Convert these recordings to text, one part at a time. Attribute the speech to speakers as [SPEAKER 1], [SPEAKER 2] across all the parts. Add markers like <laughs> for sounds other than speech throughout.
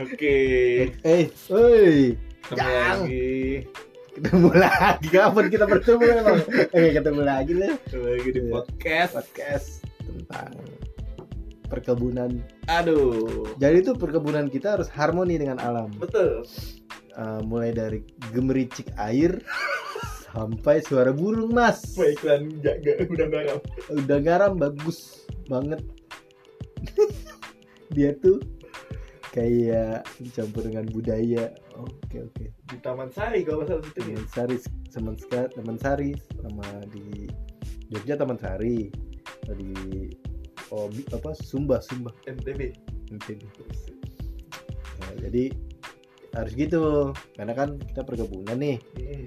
[SPEAKER 1] Oke,
[SPEAKER 2] Eh, woi,
[SPEAKER 1] ketemu
[SPEAKER 2] Jang.
[SPEAKER 1] lagi,
[SPEAKER 2] ketemu lagi kapan kita bertemu emang? Oke, ketemu lagi lah
[SPEAKER 1] ketemu lagi di
[SPEAKER 2] Iya.
[SPEAKER 1] podcast.
[SPEAKER 2] podcast tentang perkebunan.
[SPEAKER 1] Aduh,
[SPEAKER 2] Jadi itu perkebunan kita harus harmoni dengan alam.
[SPEAKER 1] betul.
[SPEAKER 2] Eh, mulai dari gemericik air sampai suara burung, Mas.
[SPEAKER 1] Wah, iklan jaga udah garam.
[SPEAKER 2] Udah garam bagus banget. <laughs> Dia tuh kayak dicampur dengan budaya. Oke, oke.
[SPEAKER 1] Di Taman Sari kalau nggak salah situ ya.
[SPEAKER 2] Taman Sari Taman Sari Taman Sari sama di Jogja Taman Sari Sama di oh, bi- apa Sumba Sumba
[SPEAKER 1] Hmm. NTB.
[SPEAKER 2] mungkin Nah, jadi harus gitu karena kan kita perkebunan nih
[SPEAKER 1] Hmm.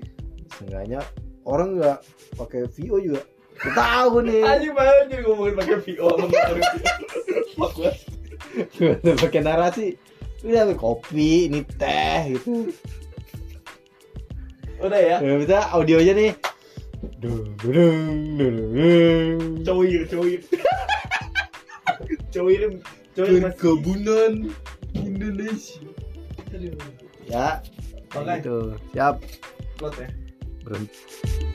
[SPEAKER 2] seenggaknya orang nggak pakai VO juga Nggak tahu nih
[SPEAKER 1] Ayo Hmm. banget jadi ngomongin pakai <laughs> VO sama motor VO. Fuck gua.
[SPEAKER 2] Udah <laughs> pakai narasi udah kopi ini teh gitu
[SPEAKER 1] Udah ya,
[SPEAKER 2] Nah, bisa audionya nih Dung, dung, dung, dung.
[SPEAKER 1] cowir, cowir. <laughs> Cowir, cowir masih.
[SPEAKER 2] perkebunan Indonesia
[SPEAKER 1] Aduh,
[SPEAKER 2] ya
[SPEAKER 1] Oke.
[SPEAKER 2] gitu siap
[SPEAKER 1] plot ya.
[SPEAKER 2] berhenti